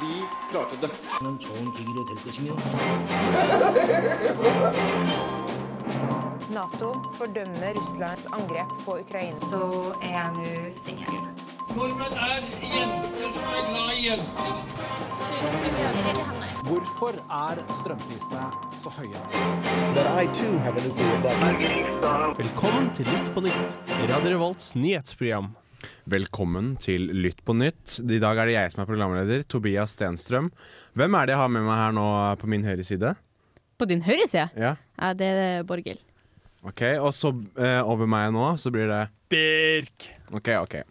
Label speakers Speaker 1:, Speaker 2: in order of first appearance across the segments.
Speaker 1: vi klarte det.
Speaker 2: 는 좋은 계기로 될 것이며
Speaker 3: Nato fordømmer Russlands angrep på Ukraina.
Speaker 4: så er jeg nå singel.
Speaker 5: Nordmenn er jenter som er glad i jenter.
Speaker 6: Hvorfor er strømprisene så høye?
Speaker 7: Velkommen til Lytt på nytt, Radio Revolts nyhetsprogram.
Speaker 8: Velkommen til Lytt på nytt. I dag er det jeg som er programleder, Tobias Stenstrøm. Hvem er det jeg har med meg her nå på min høyre side?
Speaker 9: På din høyre side?
Speaker 8: Ja,
Speaker 9: Ja, det er Borghild.
Speaker 8: ok. Og så eh, over meg nå, så blir det
Speaker 7: Birk!
Speaker 8: Ok, ok.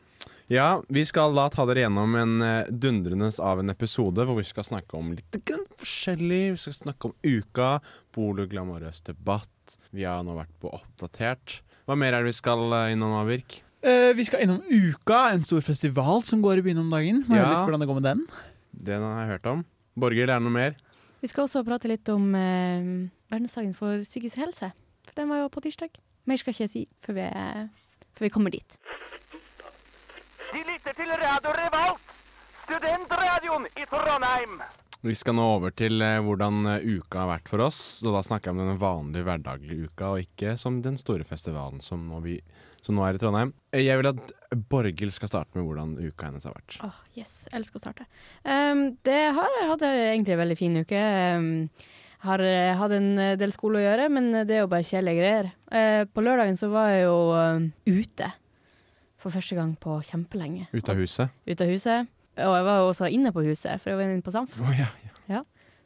Speaker 8: Ja, vi skal da ta dere gjennom en eh, dundrende av en episode hvor vi skal snakke om litt grann forskjellig. Vi skal snakke om uka, pologlamorøs debatt. Vi har nå vært på Oppdatert. Hva mer er det vi skal eh, innom, av, Birk?
Speaker 10: Eh, vi skal innom Uka, en stor festival som går i byen om dagen. Må
Speaker 8: Ja.
Speaker 10: høre litt hvordan det går med den.
Speaker 8: Den har jeg hørt om. Borger, det er noe mer?
Speaker 9: Vi skal også prate litt om eh, verdensdagen for psykisk helse. For den var jo på tirsdag. Mer skal ikke jeg si før vi, før vi kommer dit.
Speaker 8: Vi skal nå over til eh, hvordan eh, uka har vært for oss. Og da snakker jeg om den vanlige hverdaglige uka, og ikke som den store festivalen som nå, vi, som nå er i Trondheim. Eh, Jeg vil at Borghild skal starte med hvordan uka hennes har vært.
Speaker 9: Åh, yes, jeg elsker å starte. Um, det har jeg hatt egentlig en veldig fin uke. Um, har eh, hatt en del skole å gjøre, men det er jo bare kjedelige greier. Eh, på lørdagen så var jeg jo eh, ute. For første gang på kjempelenge.
Speaker 8: Ute av huset.
Speaker 9: Ute av huset. Og jeg var jo også inne på huset, for jeg var inne på Samf.
Speaker 8: Å ja, ja.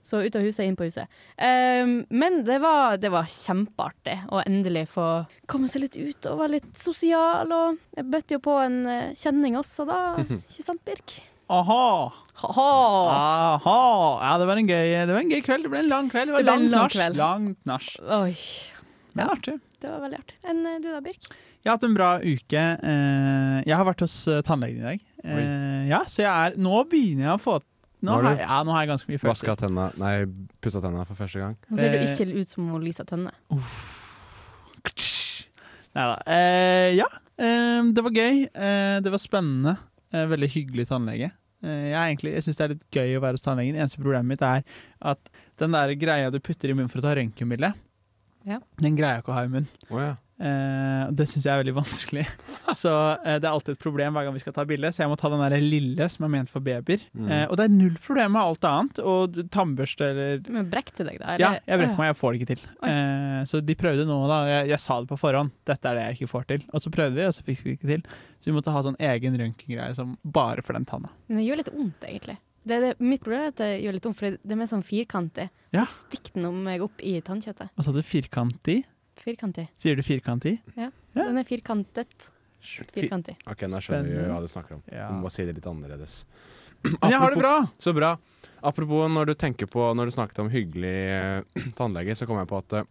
Speaker 9: Så ut av huset, inn på huset. Ehm, men det var, det var kjempeartig å endelig få komme seg litt ut og være litt sosial. Og jeg bøtte jo på en eh, kjenning også da, ikke sant, Birk?
Speaker 10: Aha!
Speaker 9: Ha-ha!
Speaker 10: Aha! Ja, det var, en gøy, det var en gøy kveld. Det ble en lang kveld. Det var
Speaker 9: Det ble en
Speaker 10: langt
Speaker 9: lang
Speaker 10: nach.
Speaker 9: kveld.
Speaker 10: Langt nach.
Speaker 9: Oi,
Speaker 10: Men artig.
Speaker 9: det var veldig artig. Enn eh, du da, Birk?
Speaker 10: Jeg har hatt en bra uke. Eh, Jeg har vært hos eh, tannlegen i dag. Eh, Ja, så jeg er Nå begynner jeg å få Nå
Speaker 8: Nå er
Speaker 10: har
Speaker 8: du-
Speaker 10: jeg, ja, nå har jeg ganske mye
Speaker 8: Vaska
Speaker 10: følelser.
Speaker 8: tenna Nei, pussa tenna for første gang.
Speaker 9: Nå ser du
Speaker 10: Eh.
Speaker 9: ikke ut som hun Lisa Tønne.
Speaker 10: Neida. Eh, ja, eh, det var gøy. Eh, det var spennende. Eh, veldig hyggelig tannlege. Eh, jeg er egentlig- jeg syns det er litt gøy å være hos tannlegen. Eneste problemet mitt er at den der greia du putter i munnen for å ta røntgenbilde,
Speaker 9: Ja.
Speaker 10: den greier jeg ikke å ha i munnen.
Speaker 8: Å ja.
Speaker 10: Eh, og det syns jeg er veldig vanskelig. Så eh, det er alltid et problem hver gang vi skal ta bilde, så jeg må ta den der lille som er ment for babyer.
Speaker 8: Mm.
Speaker 10: Eh, og det er null problem med alt annet. Og d- tannbørste eller
Speaker 9: Men brekk til deg, da?
Speaker 10: ja, jeg brekker meg, jeg får det ikke til.
Speaker 9: Oi.
Speaker 10: Eh, så de prøvde nå, da. Jeg, jeg sa det på forhånd. Dette er det jeg ikke får til. Og så prøvde vi, og så fikk vi det ikke til. Så vi måtte ha sånn egen røntgengreie som bare for den tanna.
Speaker 9: Men det gjør litt vondt, egentlig. Det er det, mitt problem er at det gjør litt vondt, for det er mer sånn firkantig.
Speaker 10: Ja.
Speaker 9: Det stikker noe meg opp i tannkjøttet.
Speaker 10: Og så hadde firkant i.
Speaker 9: Firkantig.
Speaker 10: Sier du firkant i? Ja.
Speaker 9: Den er firkantet.
Speaker 10: Fi-
Speaker 9: Firkantig.
Speaker 8: Ok, nå skjønner vi
Speaker 10: Spennende.
Speaker 8: hva du snakker om.
Speaker 10: Ja.
Speaker 8: Du må si det litt annerledes.
Speaker 10: Men jeg har det
Speaker 8: Apropos-
Speaker 10: bra!
Speaker 8: Så bra. Apropos når du tenker på Når du snakket om hyggelig eh, tannlege, så kom jeg på at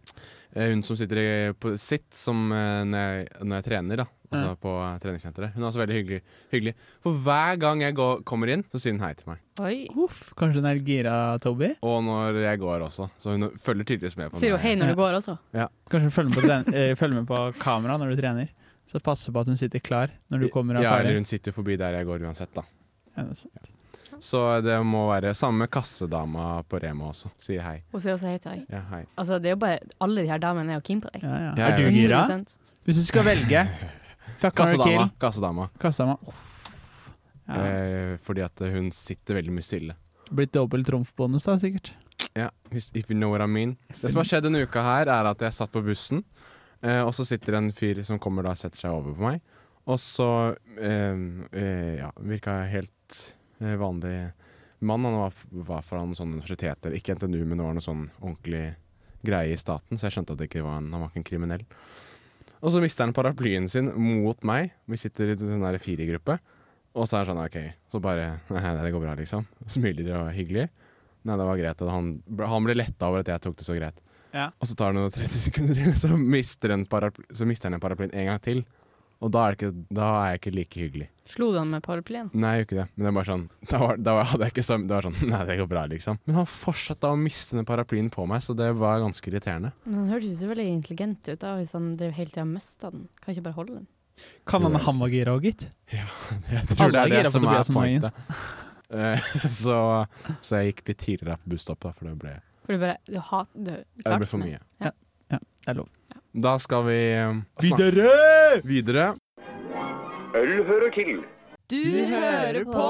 Speaker 8: eh, hun som sitter i, på sitt som, eh, når, jeg, når jeg trener, da altså
Speaker 10: Ja.
Speaker 8: på eh, treningssenteret, hun er også veldig hyggelig, hyggelig. For hver gang jeg går, kommer inn, så sier hun hei til meg.
Speaker 9: Oi.
Speaker 10: Uff, kanskje den er gira, Toby?
Speaker 8: Og når jeg går også. Så hun følger tydeligvis med på
Speaker 9: Sier hun hei når du går også?
Speaker 10: Kanskje hun følger med på, tren- eh, følger med på kamera når du trener? Så passe på at hun sitter klar når du kommer av
Speaker 8: Ja, eller
Speaker 10: ferdig.
Speaker 8: hun sitter jo forbi der jeg går uansett, da.
Speaker 10: Ja, altså, det er sant.
Speaker 8: Så det må være samme kassedama på Rema også. Sier hei.
Speaker 9: Hun sier også hei til deg.
Speaker 8: Ja, hei.
Speaker 9: Altså, det er jo bare, alle de her damene er jo keen på deg.
Speaker 10: Ja, ja.
Speaker 8: Ja,
Speaker 10: Er du
Speaker 8: ja.
Speaker 10: gira?
Speaker 9: 100%.
Speaker 10: Hvis du skal velge Fuck or
Speaker 8: Kassedama.
Speaker 10: kill.
Speaker 8: kassedama.
Speaker 10: Kassedama. Ja.
Speaker 8: Eh, fordi at hun sitter veldig mye stille.
Speaker 10: Blitt dobbel trumfbonus, da, sikkert.
Speaker 8: Ja, hvis- if you know what I mean. Det som har skjedd denne uka her, er at jeg satt på bussen, eh, og så sitter det en fyr som kommer da og setter seg over på meg. Og så eh, eh, ja, virka helt eh, vanlig mann. Han var, var fra noen sånne universiteter, ikke NTNU, men det var noe sånn ordentlig greie i staten, så jeg skjønte at det ikke var en, han var ikke en kriminell. Og så mister han paraplyen sin mot meg. Vi sitter i den der firergruppe. Og så er han sånn OK, så bare Nei, det går bra, liksom. Smiler og er hyggelig. Nei, det var greit. og Han, han ble letta over at jeg tok det så greit.
Speaker 10: Ja.
Speaker 8: Og så tar det noen 30 sekunder, til, så mister han paraply- så mister han paraplyen en gang til. Og da er, det ikke, da er jeg ikke like hyggelig.
Speaker 9: Slo du han med paraplyen?
Speaker 8: Nei, jeg gjør ikke det. Men det er bare sånn Da, var, da hadde jeg ikke sånn Det var sånn Nei, det går bra, liksom. Men han fortsatte å miste den paraplyen på meg, så det var ganske irriterende.
Speaker 9: Men han hørtes jo så veldig intelligent ut da, hvis han drev hele tida og mista den. Kan ikke bare holde den.
Speaker 10: Kan
Speaker 8: Jo,
Speaker 10: han
Speaker 8: jeg
Speaker 10: han var gira òg, gitt?
Speaker 8: Jeg
Speaker 10: Alle
Speaker 8: tror det
Speaker 10: er
Speaker 8: er
Speaker 10: gira
Speaker 8: det
Speaker 10: på
Speaker 8: som er
Speaker 10: Tobias om dagen.
Speaker 8: pointet. Eh, så, så jeg gikk litt tidligere på busstoppet, for det ble,
Speaker 9: For du bare du hat, du,
Speaker 8: det ble for mye.
Speaker 10: Det er lov.
Speaker 8: Da skal vi eh, snakke
Speaker 10: Videre!
Speaker 8: videre.
Speaker 1: Øl hører til.
Speaker 11: Du hører på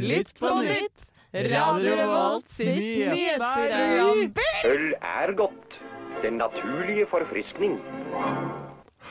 Speaker 11: Litt på nytt, Radio Revolt sitt nyhetsprogram.
Speaker 1: Øl er godt. Den naturlige forfriskning.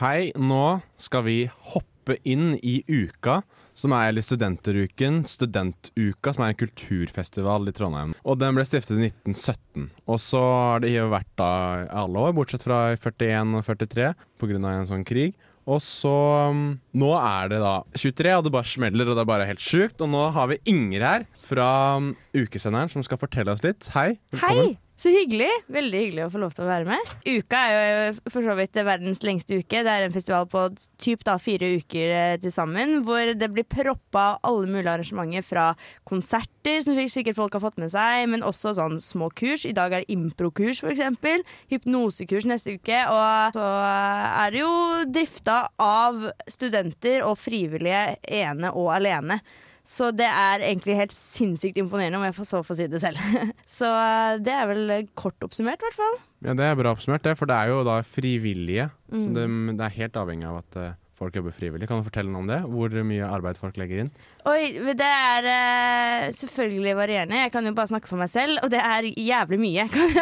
Speaker 8: Hei, nå skal vi hoppe inn i uka, som er eller studenteruken, studentuka, som er en kulturfestival i Trondheim. Og den ble stiftet i 1917. Og så har det jo vært da i alle år, bortsett fra i 41 og 43, pga. en sånn krig. Og så um, Nå er det da 23, og det bare smeller, og det er bare helt sjukt. Og nå har vi Inger her fra um, ukesenderen som skal fortelle oss litt. Hei. velkommen.
Speaker 11: Hei! Så hyggelig. Veldig hyggelig å få lov til å være med. Uka er jo for så vidt verdens lengste uke. Det er en festival på typ da fire uker eh, til sammen, hvor det blir proppa av alle mulige arrangementer fra konserter, som sikkert folk har fått med seg, men også sånn små kurs. I dag er det improkurs, for eksempel. Hypnosekurs neste uke. Og så er det jo drifta av studenter og frivillige ene og alene. Så det er egentlig helt sinnssykt imponerende, om jeg får så får si det selv. Så eh, det er vel kort oppsummert, i hvert fall.
Speaker 8: Ja, Det er bra oppsummert, det, for det er jo da frivillige. Så
Speaker 11: Mm.
Speaker 8: det, det er helt avhengig av at eh, folk jobber frivillig. Kan du fortelle noe om det? Hvor mye arbeid folk legger inn?
Speaker 11: Oi, men det er eh, selvfølgelig varierende. Jeg kan jo bare snakke for meg selv, og det er jævlig mye. Kan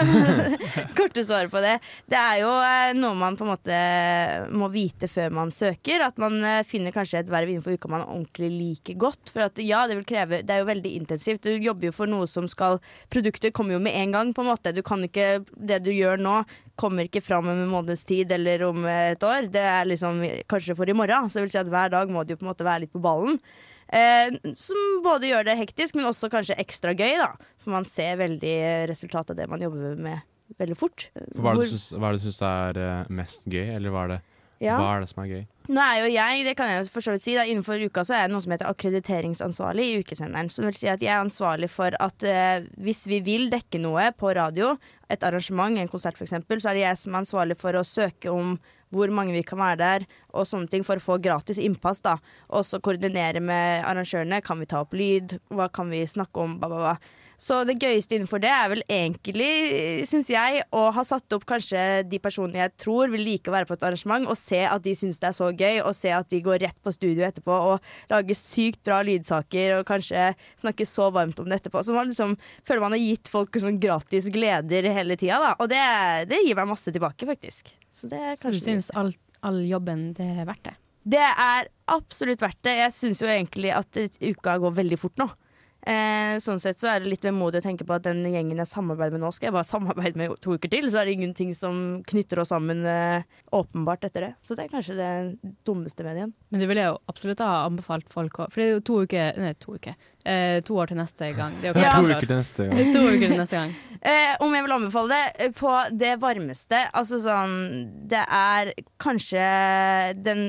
Speaker 11: jeg korte svaret på det. Det er jo eh, noe man på en måte eh, må vite før man søker. At man eh, finner kanskje et verv innenfor uka man ordentlig liker godt. For at ja, det vil kreve Det er jo veldig intensivt. Du jobber jo for noe som skal Produktet kommer jo med en gang, på en måte. Du kan ikke Det du gjør nå, kommer ikke fram om en måneds tid eller om et år. Det er liksom kanskje for i morgen. Så det vil si at hver dag må du jo på en måte være litt på ballen. Eh, som både gjør det hektisk, men også kanskje ekstra gøy, da. For man ser veldig resultatet av det man jobber med, veldig fort.
Speaker 8: Hva er
Speaker 11: Hvor-
Speaker 8: det du syns, hva er det du syns er eh, mest gøy, eller hva er, det,
Speaker 11: ja.
Speaker 8: hva er det som er gøy?
Speaker 11: Nå er jo jeg, det kan jeg jo for så vidt si, da, innenfor uka så er jeg noe som heter akkrediteringsansvarlig i ukesenderen. Som vil si at jeg er ansvarlig for at eh, hvis vi vil dekke noe på radio, et arrangement, en konsert f.eks., så er det jeg som er ansvarlig for å søke om hvor mange vi kan være der, og sånne ting for å få gratis innpass. da. Og så koordinere med arrangørene. Kan vi ta opp lyd? Hva kan vi snakke om? Ba, ba, ba. Så det gøyeste innenfor det er vel egentlig, syns jeg, å ha satt opp kanskje de personene jeg tror vil like å være på et arrangement, og se at de syns det er så gøy, og se at de går rett på studio etterpå og lager sykt bra lydsaker, og kanskje snakker så varmt om det etterpå. Så man liksom føler man har gitt folk sånn gratis gleder hele tida, da. Og det, det gir meg masse tilbake, faktisk. Så det er
Speaker 9: Så du
Speaker 11: kanskje
Speaker 9: syns all, all jobben det er verdt det?
Speaker 11: det er absolutt verdt det. Jeg syns jo egentlig at eh, uka går veldig fort nå. Eh, sånn sett så er det litt vemodig å tenke på at den gjengen jeg samarbeider med nå, skal jeg bare samarbeide med i to uker til. Så er det ingenting som knytter oss sammen eh, åpenbart etter det. Så det er kanskje det dummeste med det igjen.
Speaker 9: Men du ville jo absolutt ha anbefalt folk å For det er jo to uker Nei, to uker. Eh, to år til neste gang. Det er jo
Speaker 11: Ja.
Speaker 9: klart
Speaker 8: To
Speaker 9: hvert
Speaker 8: uker til neste
Speaker 9: år.
Speaker 8: gang.
Speaker 9: to uker til neste gang.
Speaker 11: Eh, om jeg vil anbefale det eh, på det varmeste Altså sånn Det er kanskje den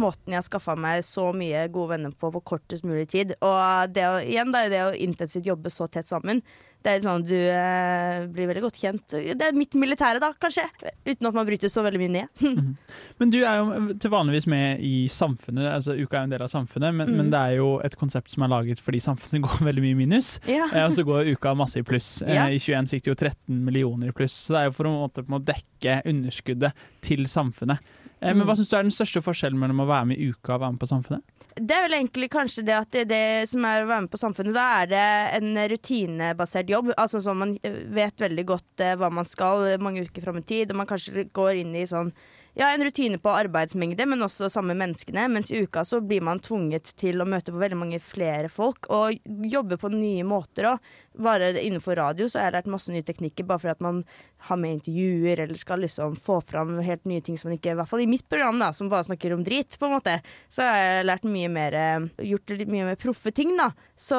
Speaker 11: måten jeg har skaffa meg så mye gode venner på på kortest mulig tid. Og det å, igjen da, det å intensivt jobbe så tett sammen. Det er sånn Du eh, blir veldig godt kjent. Det er mitt militære, da, kanskje. Uten at man bryter så veldig mye ned.
Speaker 10: Men du er jo til vanligvis med i samfunnet, altså uka er jo en del av samfunnet, men,
Speaker 11: Mm.
Speaker 10: men det er jo et konsept som er laget fordi samfunnet går veldig mye i minus.
Speaker 11: Ja.
Speaker 10: Eh, Og så går uka masse i pluss. Eh,
Speaker 11: Ja.
Speaker 10: I 21 sikter jo 13 millioner i pluss. Så det er jo for en måte på å dekke underskuddet til samfunnet. Eh, Men
Speaker 11: Mm.
Speaker 10: hva syns du er den største forskjellen mellom å være med i uka og være med på Samfunnet?
Speaker 11: Det er vel egentlig kanskje det at det, det som er å være med på samfunnet, da er det en rutinebasert jobb. Altså sånn man eh, vet veldig godt eh, hva man skal eh, mange uker fram i tid, og man kanskje går inn i sånn ja, en rutine på arbeidsmengde, men også samme menneskene. Mens i uka så blir man tvunget til å møte på veldig mange flere folk, og jobbe på nye måter òg. Bare innenfor radio så har jeg lært masse nye teknikker, bare fordi at man har med intervjuer, eller skal liksom få fram helt nye ting som man ikke I hvert fall i mitt program, da, som bare snakker om drit, på en måte. Så har jeg lært mye mer eh, Gjort litt mye mer proffe ting, da. Så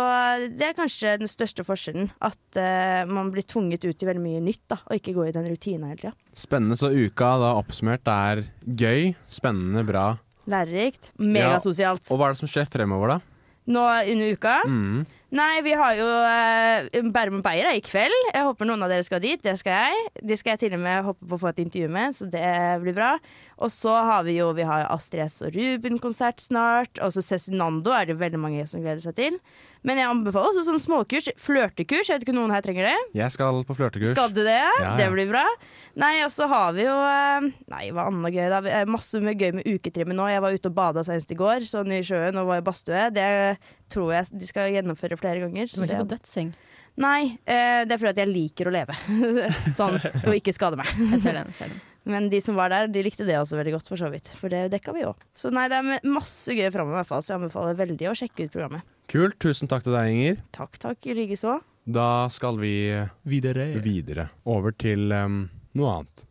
Speaker 11: det er kanskje den største forskjellen. At eh, man blir tvunget ut i veldig mye nytt, da, og ikke går i den rutina hele tida.
Speaker 8: Spennende, så uka da oppsummert er gøy, spennende, bra.
Speaker 11: Lærerikt.
Speaker 8: Ja,
Speaker 11: Megasosialt.
Speaker 8: Og hva er det som skjer fremover, da?
Speaker 11: Nå under uka
Speaker 8: Mm.
Speaker 11: Nei, vi har jo eh, Bærum og Beyer er i kveld. Jeg håper noen av dere skal dit. Det skal jeg. De skal jeg til og med håpe på å få et intervju med, så det blir bra. Og så har vi jo vi har Astrid S og Ruben-konsert snart. Og så Cezinando er det veldig mange som gleder seg til. Men jeg anbefaler også sånn småkurs. Flørtekurs. Jeg vet ikke om noen her trenger det.
Speaker 8: Jeg skal på flørtekurs.
Speaker 11: Skal du det?
Speaker 8: ja.
Speaker 11: Det blir bra. Nei, og så har vi jo eh, Nei, hva annet gøy da? Eh, Masse med gøy med uketrimmen nå. Jeg var ute og bada senest i går, sånn i sjøen og var i badstue. Det tror jeg de skal gjennomføre flere ganger.
Speaker 9: Du må ikke på
Speaker 11: det,
Speaker 9: dødseng.
Speaker 11: nei, eh, det er fordi at jeg liker å leve. sånn, og ikke skade meg.
Speaker 9: Jeg ser den. jeg ser den.
Speaker 11: Men de som var der, de likte det også veldig godt, for så vidt. For det dekka vi òg. Så nei, det er masse gøy framover, i hvert fall. Så jeg anbefaler veldig å sjekke ut programmet.
Speaker 8: Kult. Tusen takk til deg, Inger.
Speaker 11: Takk, takk, i likeså.
Speaker 8: Da skal vi eh,
Speaker 10: Videre.
Speaker 8: videre. Over til em, noe annet.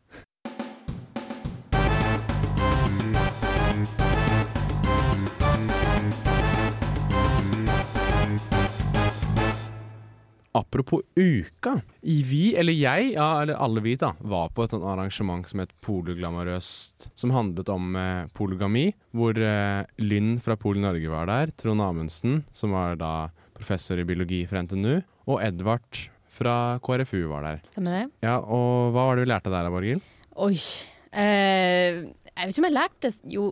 Speaker 8: Apropos uka. I Vi, eller jeg, ja, eller alle vi, da, var på et sånt arrangement som het Polyglamorøst. Som handlet om eh, polygami, hvor eh, Lynn fra Pol Norge var der. Trond Amundsen, som var da professor i biologi fra NTNU. Og Edvard fra KrFU var der.
Speaker 9: Stemmer det?
Speaker 8: Ja, og hva var det vi lærte der, Borghild?
Speaker 9: Oi. Eh, jeg vet ikke om jeg lærte Jo,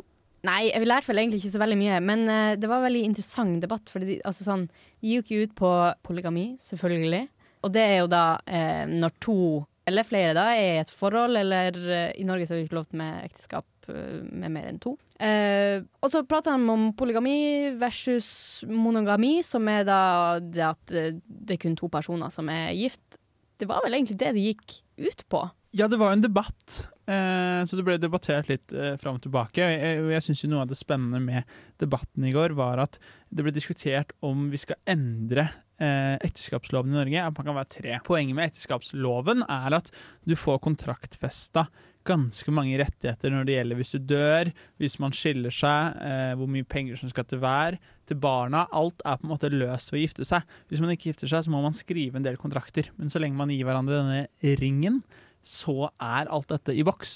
Speaker 9: nei, jeg lærte vel egentlig ikke så veldig mye. Men eh, det var en veldig interessant debatt. For de, altså sånn, de gikk jo ut på polygami, selvfølgelig. Og det er jo da eh, når to eller flere da er i et forhold, eller eh, i Norge så er det ikke lov med ekteskap eh, med mer enn to. Eh, og så prater de om polygami versus monogami, som er da det at eh, det er kun to personer som er gift. Det var vel egentlig det det gikk ut på.
Speaker 10: Ja, det var jo en debatt, eh, så det ble debattert litt eh, fram og tilbake. Og jeg, og jeg syns noe av det spennende med debatten i går var at det ble diskutert om vi skal endre eh, ekteskapsloven i Norge. At man kan være tre. Poenget med ekteskapsloven er at du får kontraktfesta ganske mange rettigheter når det gjelder hvis du dør, hvis man skiller seg, eh, hvor mye penger som skal til hver, til barna. Alt er på en måte løst ved å gifte seg. Hvis man ikke gifter seg, så må man skrive en del kontrakter. Men så lenge man gir hverandre denne ringen, så er alt dette i boks.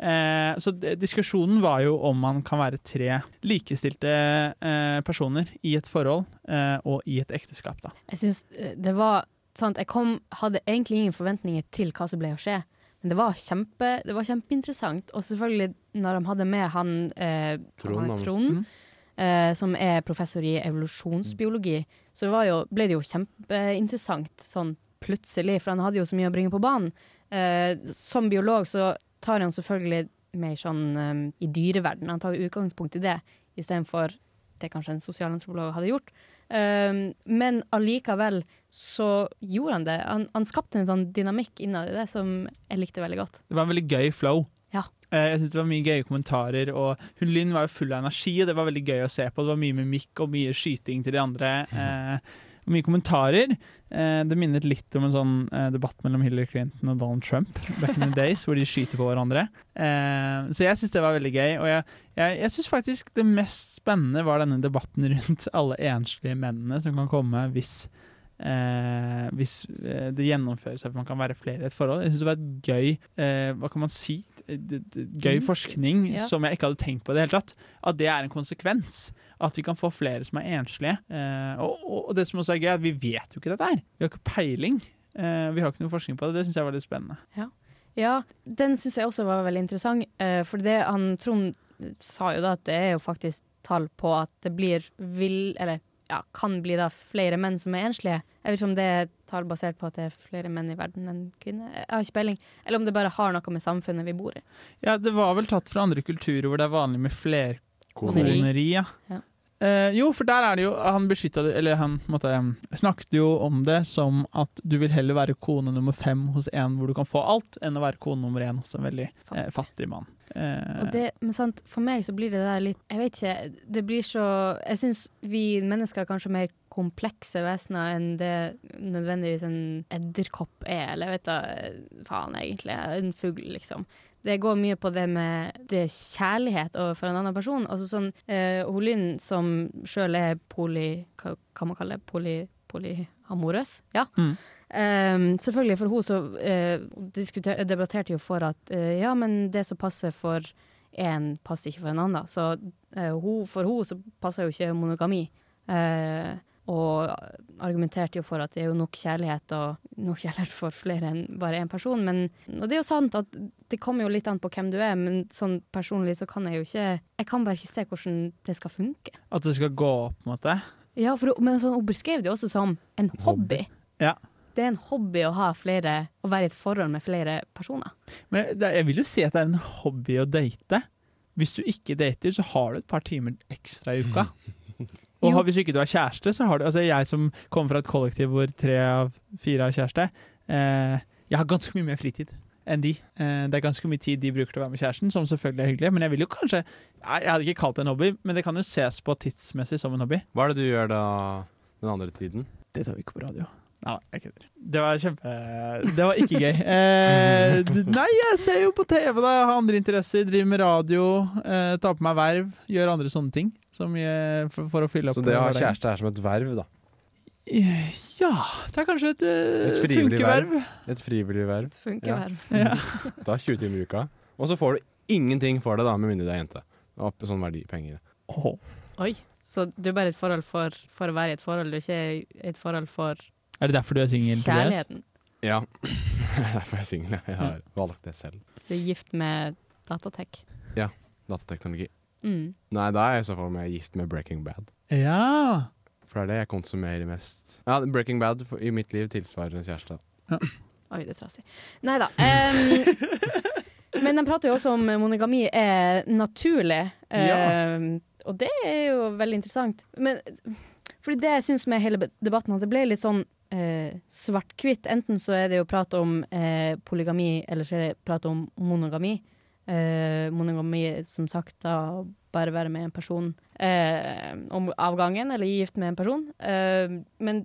Speaker 10: Eh, så d- diskusjonen var jo om man kan være tre likestilte eh, personer i et forhold eh, og i et ekteskap, da.
Speaker 9: Jeg syns eh, det var sant, Jeg kom, hadde egentlig ingen forventninger til hva som ble å skje. Men det var, kjempe, det var kjempeinteressant. Og selvfølgelig, når de hadde med han eh,
Speaker 8: Trond
Speaker 9: han er
Speaker 8: Amundsen.
Speaker 9: Trond eh, som er professor i evolusjonsbiologi, så det var jo, ble det jo kjempeinteressant sånn plutselig, for han hadde jo så mye å bringe på banen. Eh, som biolog så tar han selvfølgelig mer sånn eh, i dyreverdenen, han tar jo utgangspunkt i det, istedenfor det kanskje en sosialantropolog hadde gjort. Um, men allikevel så gjorde han det. Han, han skapte en sånn dynamikk innad i det som jeg likte veldig godt.
Speaker 10: Det var en veldig gøy flow.
Speaker 9: Ja.
Speaker 10: Eh, jeg synes Det var mye gøye kommentarer. og Hun Lynn var jo full av energi, og det var veldig gøy å se på. Det var mye mimikk og mye skyting til de andre. Eh, og mye kommentarer. Eh, det minnet litt om en sånn eh, debatt mellom Hillary Clinton og Donald Trump back in the days, hvor de skyter på hverandre. Eh, så jeg syns det var veldig gøy. Og jeg, jeg, jeg syns faktisk det mest spennende var denne debatten rundt alle enslige mennene som kan komme hvis Eh, hvis eh, det gjennomføres at man kan være flere i et forhold. Jeg synes det var et gøy eh, Hva kan man si? D- d- Gøy
Speaker 9: Innsikt,
Speaker 10: forskning
Speaker 9: ja.
Speaker 10: som jeg ikke hadde tenkt på i det hele tatt. At det er en konsekvens. At vi kan få flere som er enslige. Eh, og, og- og det som også er gøy, er at vi vet jo ikke dette her. Vi har ikke peiling. Eh, vi har ikke noe forskning på det. Det syns jeg var litt spennende.
Speaker 9: Ja, den syns jeg også var veldig interessant. eh, For det han Trond sa jo da at det er jo faktisk tall på at det blir vil Eller ja, kan bli da flere menn som er enslige. Jeg vet ikke om det er tall basert på at det er flere menn i verden enn kvinner. Jeg har ikke peiling. Eller om det bare har noe med samfunnet vi bor i.
Speaker 10: Ja, det var vel tatt fra andre kulturer hvor det er vanlig med fler
Speaker 9: Koneri.
Speaker 10: Koneri, ja.
Speaker 9: Ja.
Speaker 10: Eh, jo, for der er det jo Han beskytta det Eller han på en måte, em, snakket jo om det som at du vil heller være kone nummer fem hos en hvor du kan få alt, enn å være kone nummer én hos en veldig eh, fattig mann. Eh,
Speaker 9: Og det, men sant, for meg så blir det der litt Jeg vet ikke, det blir så Jeg syns vi mennesker er kanskje mer komplekse vesener enn det nødvendigvis en edderkopp er, eller jeg vet da eh, faen egentlig, en fugl, liksom. Det går mye på det med det er kjærlighet overfor en annen person. Altså sånn, eh, hun Lynn som sjøl er poly... Hva kan man kalle det? Poly, polyamorøs? Ja.
Speaker 10: Mm.
Speaker 9: Ehm, selvfølgelig, for hun så eh, diskuter- debatterte jo for at eh, ja, men det som passer for én, passer ikke for en annen. da. Så eh, hun, for hun så passer jo ikke monogami. Eh, og argumenterte jo for at det er jo nok kjærlighet, og nok kjærlighet for flere enn bare én person. Men, og det er jo sant at det kommer jo litt an på hvem du er, men sånn personlig så kan jeg jo ikke Jeg kan bare ikke se hvordan det skal funke.
Speaker 10: At det skal gå opp, på en måte.
Speaker 9: Ja, for, hun- men sånn, hun beskrev det jo også som en hobby.
Speaker 10: Ja.
Speaker 9: Det er en hobby å ha flere Å være i et forhold med flere personer.
Speaker 10: Men det, jeg vil jo si at det er en hobby å date. Hvis du ikke dater, så har du et par timer ekstra i uka. Og
Speaker 9: Jo.
Speaker 10: har, hvis ikke du har kjæreste, så har du Altså, jeg som kommer fra et kollektiv hvor tre av fire har kjæreste, eh, jeg har ganske mye mer fritid enn de. Eh, det er ganske mye tid de bruker til å være med kjæresten, som selvfølgelig er hyggelig, men jeg vil jo kanskje Jeg jeg hadde ikke kalt det en hobby, men det kan jo ses på tidsmessig som en hobby.
Speaker 8: Hva er det du gjør da den andre tiden?
Speaker 10: Det tar vi ikke på radio. Nei, jeg kødder. Det var kjempe... Det var ikke gøy. Eh, d- nei, jeg ser jo på TV, da. Jeg har andre interesser. Driver med radio. Eh, tar på meg verv. Gjør andre sånne ting. Som jeg, for, for å fylle opp
Speaker 8: Så det å ha
Speaker 10: hverdagen.
Speaker 8: kjæreste er som et verv, da.
Speaker 10: Eh, Ja, det er kanskje et, eh,
Speaker 8: Et frivillig
Speaker 10: funkeverv.
Speaker 8: Et frivillig verv.
Speaker 9: Det funker
Speaker 8: Ja.
Speaker 9: bare.
Speaker 8: Da 20 timer i uka. Og så får du ingenting for det, da, med mindre du er jente. Opp sånn verdi, penger.
Speaker 10: Åh.
Speaker 9: Oi. Så du er bare i et forhold for, for å være i et forhold, du er ikke i et forhold for
Speaker 10: Er det derfor du er singel?
Speaker 9: kjærligheten.
Speaker 8: Ja. Derfor er jeg singel. Jeg har valgt det selv.
Speaker 9: Du er gift med datatech.
Speaker 8: Datateknologi.
Speaker 9: Mm.
Speaker 8: Nei, da er jeg i så fall med gift med Breaking Bad.
Speaker 10: Ja.
Speaker 8: For det er det jeg konsumerer mest. Ja, Breaking Bad for- i mitt liv tilsvarer en kjæreste.
Speaker 9: Oi, det er trasig. Nei da. men de prater jo også om monogami er naturlig, Ehm, og det er jo veldig interessant. Men fordi det jeg syns med hele debatten, at det ble litt sånn eh, svart-hvitt. Enten så er det jo prat om eh, polygami, eller så er det prat om monogami. Eh, monogami, som sagt, da bare være med en person eh, om avgangen, eller gift med en person. Eh, men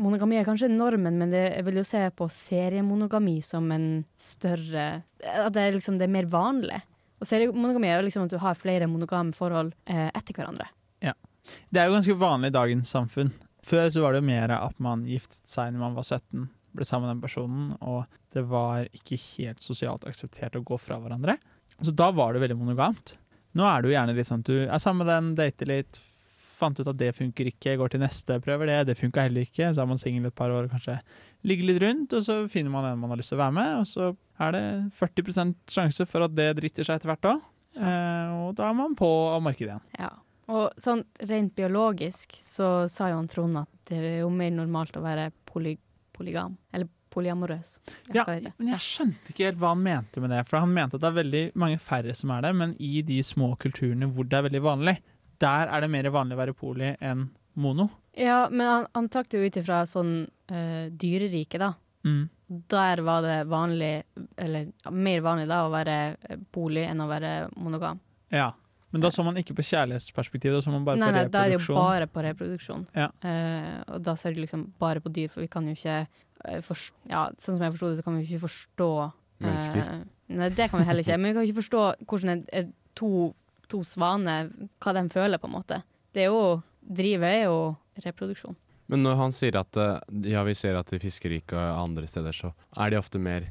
Speaker 9: monogami er kanskje normen, men det, jeg vil jo se på seriemonogami som en større At det er, liksom, det er mer vanlig. Og seriemonogami er jo liksom at du har flere monogame forhold eh, etter hverandre.
Speaker 10: Det er jo ganske vanlig i dagens samfunn. Før så var det jo mer at man giftet seg når man var 17, ble sammen med den personen, og det var ikke helt sosialt akseptert å gå fra hverandre. Så da var det veldig monogamt. Nå er det jo gjerne litt sånn at du er sammen med den, dater litt, fant ut at det funker ikke, går til neste, prøver det, det funka heller ikke, så er man singel et par år, kanskje ligger litt rundt, og så finner man en man har lyst til å være med, og så er det 40 sjanse for at det driter seg etter hvert òg, eh, og da er man på av markedet igjen.
Speaker 9: Ja. Og sånn rent biologisk så sa jo han Trond at det er jo mer normalt å være poly polygam. Eller polyamorøs. Jeg
Speaker 10: Ja,
Speaker 9: skal ikke.
Speaker 10: men jeg skjønte ikke helt hva han mente med det. For han mente at det er veldig mange færre som er det, men i de små kulturene hvor det er veldig vanlig, der er det mer vanlig å være poli enn mono.
Speaker 9: Ja, men han, han trakk det jo ut ifra sånn eh, dyreriket, da.
Speaker 10: Mm.
Speaker 9: Der var det vanlig, eller ja, mer vanlig da, å være eh, poly enn å være monogam.
Speaker 10: Ja. Men da så man ikke på kjærlighetsperspektivet, da så man bare
Speaker 9: Nei,
Speaker 10: på
Speaker 9: nei, da er det jo
Speaker 10: reproduksjon.
Speaker 9: bare på reproduksjon.
Speaker 10: Ja.
Speaker 9: Eh, og da ser du liksom bare på dyr, for vi kan jo ikke eh, forst- Ja, sånn som jeg forsto det, så kan vi jo ikke forstå eh,
Speaker 8: Mennesker.
Speaker 9: nei, det kan vi heller ikke. Men vi kan ikke forstå hvordan en, en, to, to svaner Hva de føler, på en måte. Det er jo Drivet er jo reproduksjon.
Speaker 8: Men når han sier at eh, ja, vi ser at i fiskerike og andre steder så er de ofte mer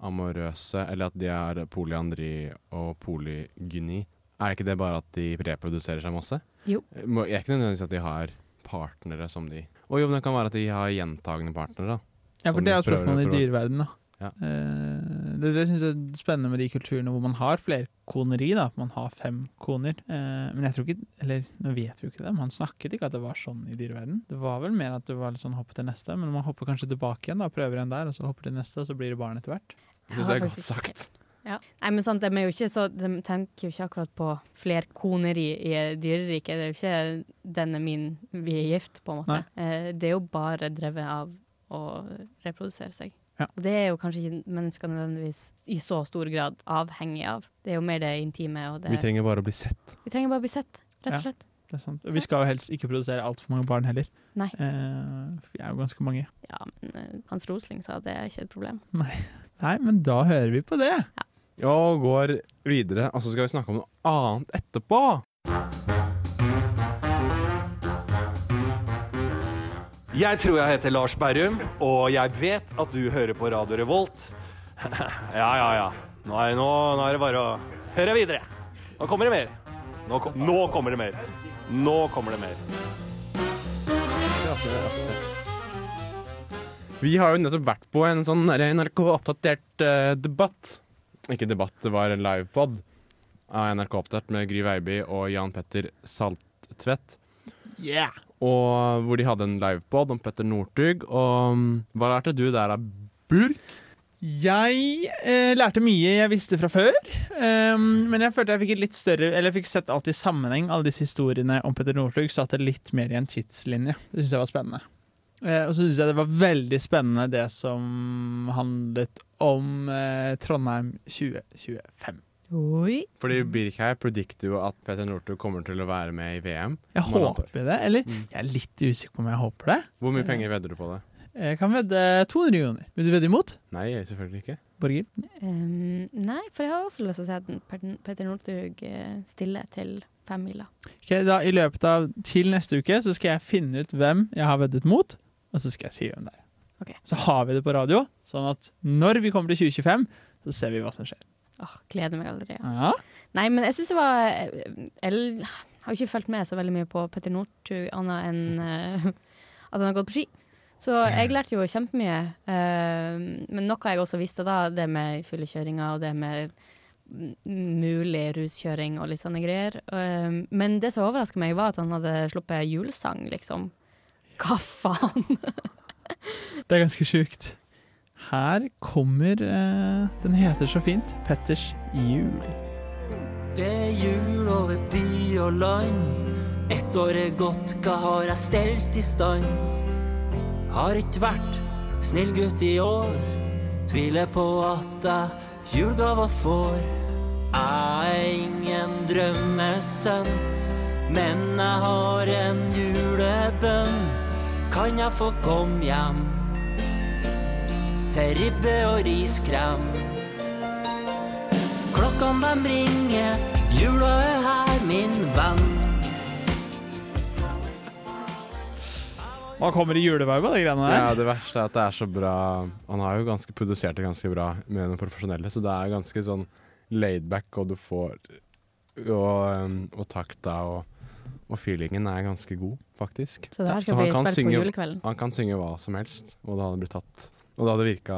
Speaker 8: polyamorøse, eller at de er polyandri og polygyni. Er ikke det bare at de reproduserer seg masse?
Speaker 9: Jo.
Speaker 8: Må- Er ikke nødvendigvis at de har partnere som de Og jo, men det kan være at de har gjentagende partnere, da.
Speaker 10: Ja, for
Speaker 8: Som
Speaker 10: det er jo
Speaker 8: prøver å
Speaker 10: spørsmålet i
Speaker 8: prøve.
Speaker 10: dyreverdenen, da.
Speaker 8: Ja.
Speaker 10: Eh, det det syns jeg er spennende med de kulturene hvor man har flerkoneri, da. at Man har fem koner. Eh, men jeg tror ikke Eller nå vet vi jo ikke det, men han snakket ikke at det var sånn i dyreverdenen. Det var vel mer at det var litt sånn hoppe til neste, men man hopper kanskje tilbake igjen, da. Prøver en der, og så hopper til neste, og så blir det barn etter hvert.
Speaker 9: Jeg
Speaker 8: Synes
Speaker 9: har
Speaker 8: det er godt
Speaker 9: faktisk ikke-
Speaker 8: sagt.
Speaker 9: Nei, men sant, de, er jo ikke så, de tenker jo ikke akkurat på flerkoneri i dyreriket. Det er jo ikke 'den er min, vi er gift', på en måte. Eh, det er jo bare drevet av å reprodusere seg.
Speaker 10: Ja.
Speaker 9: Og det er jo kanskje ikke mennesker nødvendigvis i så stor grad avhengig av. Det er jo mer det intime. Og det.
Speaker 8: Vi trenger bare å bli sett.
Speaker 9: vi trenger bare å bli sett, rett
Speaker 10: Ja.
Speaker 9: og slett.
Speaker 10: Det er sant. Og vi skal jo helst ikke produsere altfor mange barn heller.
Speaker 9: Nei.
Speaker 10: Eh, for vi er jo ganske mange.
Speaker 9: Ja, men eh, Hans Rosling sa det er ikke et problem.
Speaker 10: Nei, men da hører vi på det.
Speaker 8: Og går videre, og så skal vi snakke om noe annet etterpå.
Speaker 12: Jeg tror jeg heter Lars Berrum, og jeg vet at du hører på Radio Revolt. Ja, ja, ja. Nå er, nå, nå er det bare å høre videre. Nå kommer det mer. Nå, kom- nå kommer det mer. Nå kommer det mer.
Speaker 8: Vi har jo nettopp vært på en sånn der NRK-oppdatert eh, debatt. Ikke debatt, det var en livepod av NRK Oppdatert med Gry Veiby og Jan Petter Saltvedt.
Speaker 10: Yeah.
Speaker 8: Og hvor de hadde en livepod om Petter Northug. Og mm, hva lærte du der av Burk?
Speaker 10: Jeg eh, lærte mye jeg visste fra før, ehm, men jeg følte jeg fikk et litt større Eller jeg fikk sett alt i sammenheng, alle disse historiene om Petter Northug, satte litt mer i en tidslinje. Det syns jeg var spennende. Eh, og så syns jeg det var veldig spennende det som handlet om eh, Trondheim 2025.
Speaker 9: Oi.
Speaker 8: Fordi Birk her predikter jo at Petter Northug kommer til å være med i VM.
Speaker 10: Jeg
Speaker 8: om halvannet år.
Speaker 10: håper det, eller?
Speaker 8: Mm.
Speaker 10: Jeg er litt usikker på om jeg håper det.
Speaker 8: Hvor mye penger vedder du på det?
Speaker 10: Jeg kan vedde 200 millioner. Vil du vedde imot?
Speaker 8: Nei, selvfølgelig ikke.
Speaker 10: Borghild?
Speaker 9: Ehm, nei, for jeg har også lyst til å se den Pet- Petter Northug eh, stille til femmila.
Speaker 10: Ok, da I løpet av til neste uke så skal jeg finne ut hvem jeg har veddet mot, og så skal jeg si hvem det er.
Speaker 9: Ok.
Speaker 10: Så har vi det på radio, sånn at når vi kommer til 2025, så ser vi hva som skjer.
Speaker 9: Åh, gleder meg allerede.
Speaker 10: Ja.
Speaker 9: Nei, men jeg syns det var Jeg, jeg har jo ikke fulgt med så veldig mye på Petter Northug annet enn eh, at han har gått på ski. Så jeg lærte jo kjempemye. eh, men noe jeg også visste da, det med fyllekjøringa og det med m- mulig ruskjøring og litt sånne greier. Eh, men det som overraska meg, var at han hadde sluppet julesang, liksom. Hva faen?
Speaker 10: Det er ganske sjukt. Her kommer eh, Den heter så fint Petters jul.
Speaker 13: Det er jul over by og land. Ett år er gått, hva har jeg stelt i stand? Har ikke vært snill gutt i år. Tviler på at jeg julegaver får. Jeg er ingen drømmesønn, men jeg har en julebønn. Kan jeg få komme hjem til ribbe og riskrem? Klokkene dem ringer, jula er her, min venn.
Speaker 10: Han kommer i julevibe av de greiene der.
Speaker 8: Ja, det verste er at det er så bra Han har jo ganske produsert det ganske bra med noen profesjonelle, så det er ganske sånn laidback, og du får Og, um, og takta og, og feelingen er ganske god, faktisk.
Speaker 9: Så det her skal
Speaker 8: han
Speaker 9: bli
Speaker 8: kan
Speaker 9: spilt på
Speaker 8: synge-
Speaker 9: julekvelden.
Speaker 8: Han kan synge hva som helst, og det hadde blitt tatt. Og det hadde virka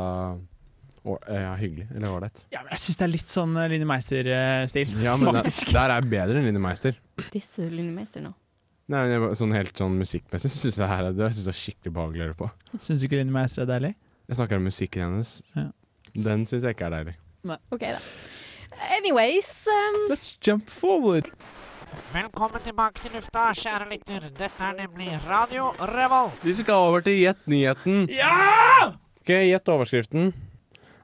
Speaker 8: å- eh, ja, hyggelig, eller ålreit.
Speaker 10: Ja, men jeg syns det er litt sånn eh, Line Meister-stil.
Speaker 8: Ja, men det,
Speaker 10: faktisk.
Speaker 8: der er bedre enn Linni Meister.
Speaker 9: Disser du Line Meister nå?
Speaker 8: Nei, men jeg bare- sånn helt sånn musikkmessig så syns jeg det her er, det synes jeg er skikkelig behagelig å høre på.
Speaker 10: Syns du ikke Line Meister er deilig?
Speaker 8: Jeg snakker om musikken hennes.
Speaker 10: Ja.
Speaker 8: Den syns jeg ikke er deilig.
Speaker 9: OK, da. Anyways
Speaker 8: eh,
Speaker 9: ehm,
Speaker 10: Let's jump forward.
Speaker 14: Velkommen tilbake til lufta, kjære lytter. Dette er nemlig Radio Revolt.
Speaker 8: Vi skal over til Gjett nyheten.
Speaker 14: Ja!
Speaker 8: Ok, Gjett overskriften.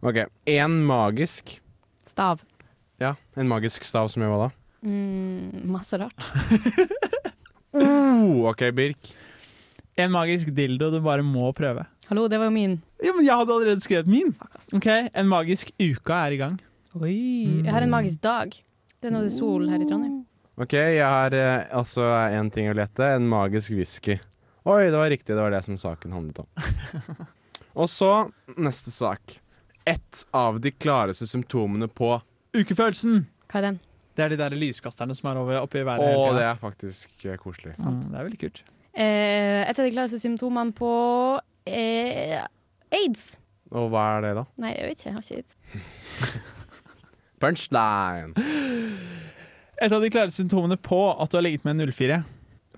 Speaker 8: Ok, En magisk
Speaker 9: Stav.
Speaker 8: Ja, en magisk stav som gjør hva da?
Speaker 9: Mm, masse rart.
Speaker 8: Oh, ok, Birk.
Speaker 10: En magisk dildo du bare må prøve.
Speaker 9: Hallo, det var jo min.
Speaker 10: Ja, men jeg hadde allerede skrevet min. Ok, En magisk uke er i gang.
Speaker 9: Oi. Jeg har en magisk dag. Det er nå det er sol her i Trondheim.
Speaker 8: Ok, Jeg har eh, altså én ting å lete. En magisk whisky. Oi, det var riktig. Det var det som saken handlet om. Og så neste sak. Ett av de klareste symptomene på
Speaker 10: Ukefølelsen.
Speaker 9: Hva er den?
Speaker 10: Det er de der lyskasterne som er over, oppe i været.
Speaker 8: Å,
Speaker 10: hele tiden.
Speaker 8: det er faktisk eh, koselig.
Speaker 10: Mm, det er veldig kult.
Speaker 9: Eh, et av de klareste symptomene på eh, aids.
Speaker 8: Og hva er det, da?
Speaker 9: Nei, jeg vet ikke. Jeg har ikke aids.
Speaker 8: Punchline!
Speaker 10: Et av de klare symptomene på at du har ligget med en 04.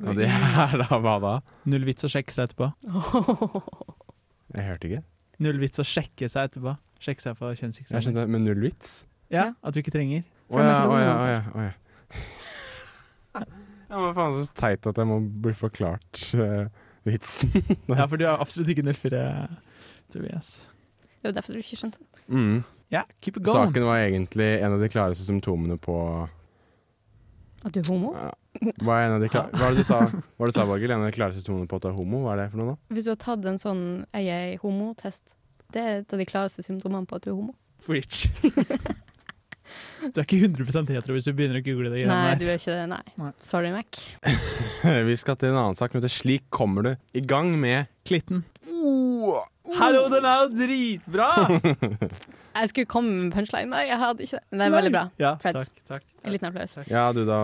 Speaker 8: Og det er da hva da?
Speaker 10: Null vits å sjekke seg etterpå.
Speaker 8: Jeg hørte ikke.
Speaker 10: Null vits å sjekke seg etterpå. Sjekke seg for
Speaker 8: Jeg
Speaker 10: kjønnssykdommer.
Speaker 8: skjønte Med null vits?
Speaker 10: Ja, at du ikke trenger.
Speaker 8: Å ja, å ja, å ja. Å ja. Ja, men faen så teit at jeg må bli forklart eh, vitsen.
Speaker 10: Ja, for du har absolutt ikke 04, Tobias.
Speaker 9: Det er jo derfor du ikke skjønte det.
Speaker 8: Mm.
Speaker 10: Ja, keep it going.
Speaker 8: Saken var egentlig en av de klareste symptomene på
Speaker 9: At du er homo?
Speaker 8: ja, Hva er en av de kla- Hva var det du sa, Hva var det du sa Borghild? En av de klareste symptomene på at du er homo? Hva er det for noe, da?
Speaker 9: Hvis du har tatt en sånn jeg er homotest, det er et av de klareste symptomene på at du er homo.
Speaker 10: Preach. Du er ikke 100 hetero hvis du begynner å google det.
Speaker 9: Nei,
Speaker 10: greiene
Speaker 9: du
Speaker 10: der.
Speaker 9: er ikke det. Nei.
Speaker 10: Nei.
Speaker 9: Sorry, Mac.
Speaker 8: Vi skal til en annen sak, men det er slik kommer du i gang med
Speaker 10: Klitten.
Speaker 8: oh,
Speaker 10: Hallo, den er jo dritbra!
Speaker 9: Jeg skulle komme med en punchline, nei, jeg hadde ikke det. Men det er veldig bra.
Speaker 10: Ja,
Speaker 9: Creds.
Speaker 10: takk, takk.
Speaker 9: En liten applaus.
Speaker 8: Ja, du da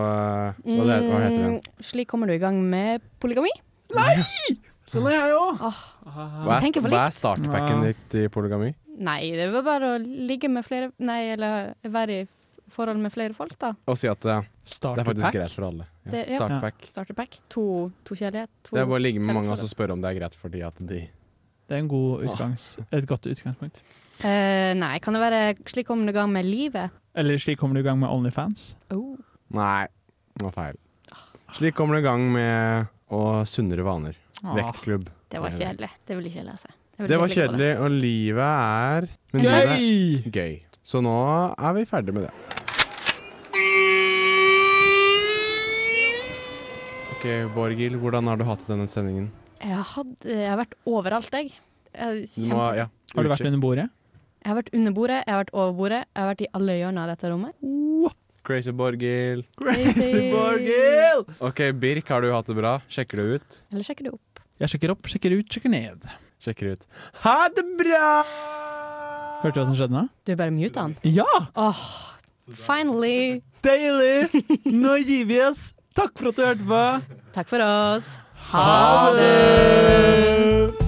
Speaker 8: Hva, det, hva heter den?
Speaker 9: Mm, Slik kommer du i gang med polygami.
Speaker 10: Sånn er jeg jo!
Speaker 8: Hva er, hva er starterpacken ditt i polygami?
Speaker 9: Nei, det var bare å ligge med flere Nei, eller være i forhold med flere folk, da.
Speaker 8: Og si at eh, det er faktisk
Speaker 9: Starterpack?
Speaker 8: greit for alle. Ja.
Speaker 9: Det- ja.
Speaker 8: Starterpack.
Speaker 9: Starterpack. To, to kjærlighet. To
Speaker 8: Det er bare å ligge med mange og
Speaker 9: kjærlighetsforhold.
Speaker 8: så spørre om det er greit fordi at de
Speaker 10: Det er en god utgangs, et godt utgangspunkt.
Speaker 8: altså.
Speaker 9: Eh, nei, kan det være slik kommer det i gang med livet?
Speaker 10: Eller slik kommer du i gang med Onlyfans.
Speaker 9: Oh.
Speaker 8: Nei, det var feil. Slik kommer det i gang med å sunnere vaner.
Speaker 9: Åh,
Speaker 10: Ah.
Speaker 8: Vektklubb.
Speaker 9: Det var kjedelig. Det vil ikke jeg lese. Jeg vil
Speaker 8: Det
Speaker 9: ikke
Speaker 8: var
Speaker 9: klikke på det.
Speaker 8: kjedelig, og livet er men
Speaker 9: Gøy!
Speaker 8: livet er gøy. Så nå er vi ferdig med det. Ok, Borghild, hvordan har du hatt denne sendingen?
Speaker 9: Jeg, hadde, jeg har vært overalt, jeg. Jeg, har
Speaker 8: Du
Speaker 9: kjempe-
Speaker 8: må- ja,
Speaker 10: Har du vært
Speaker 8: utkikk.
Speaker 10: under bordet?
Speaker 9: jeg har vært under bordet, jeg har vært over bordet, jeg har vært i alle hjørner av dette rommet.
Speaker 8: Crazy Borghild.
Speaker 9: Crazy
Speaker 10: Borghild!
Speaker 8: Ok, Birk, har du hatt det bra? Sjekker du ut?
Speaker 9: Eller sjekker du opp?
Speaker 10: Jeg sjekker opp, sjekker ut, sjekker ned.
Speaker 8: Sjekker ut. Ha det bra!
Speaker 10: Hørte du hva som skjedde nå?
Speaker 9: Du bare muta han.
Speaker 10: Ja!
Speaker 9: Åh, finally!
Speaker 10: Deilig! Nå gir vi oss. Takk for at du hørte på.
Speaker 9: Takk for oss.
Speaker 10: Ha det!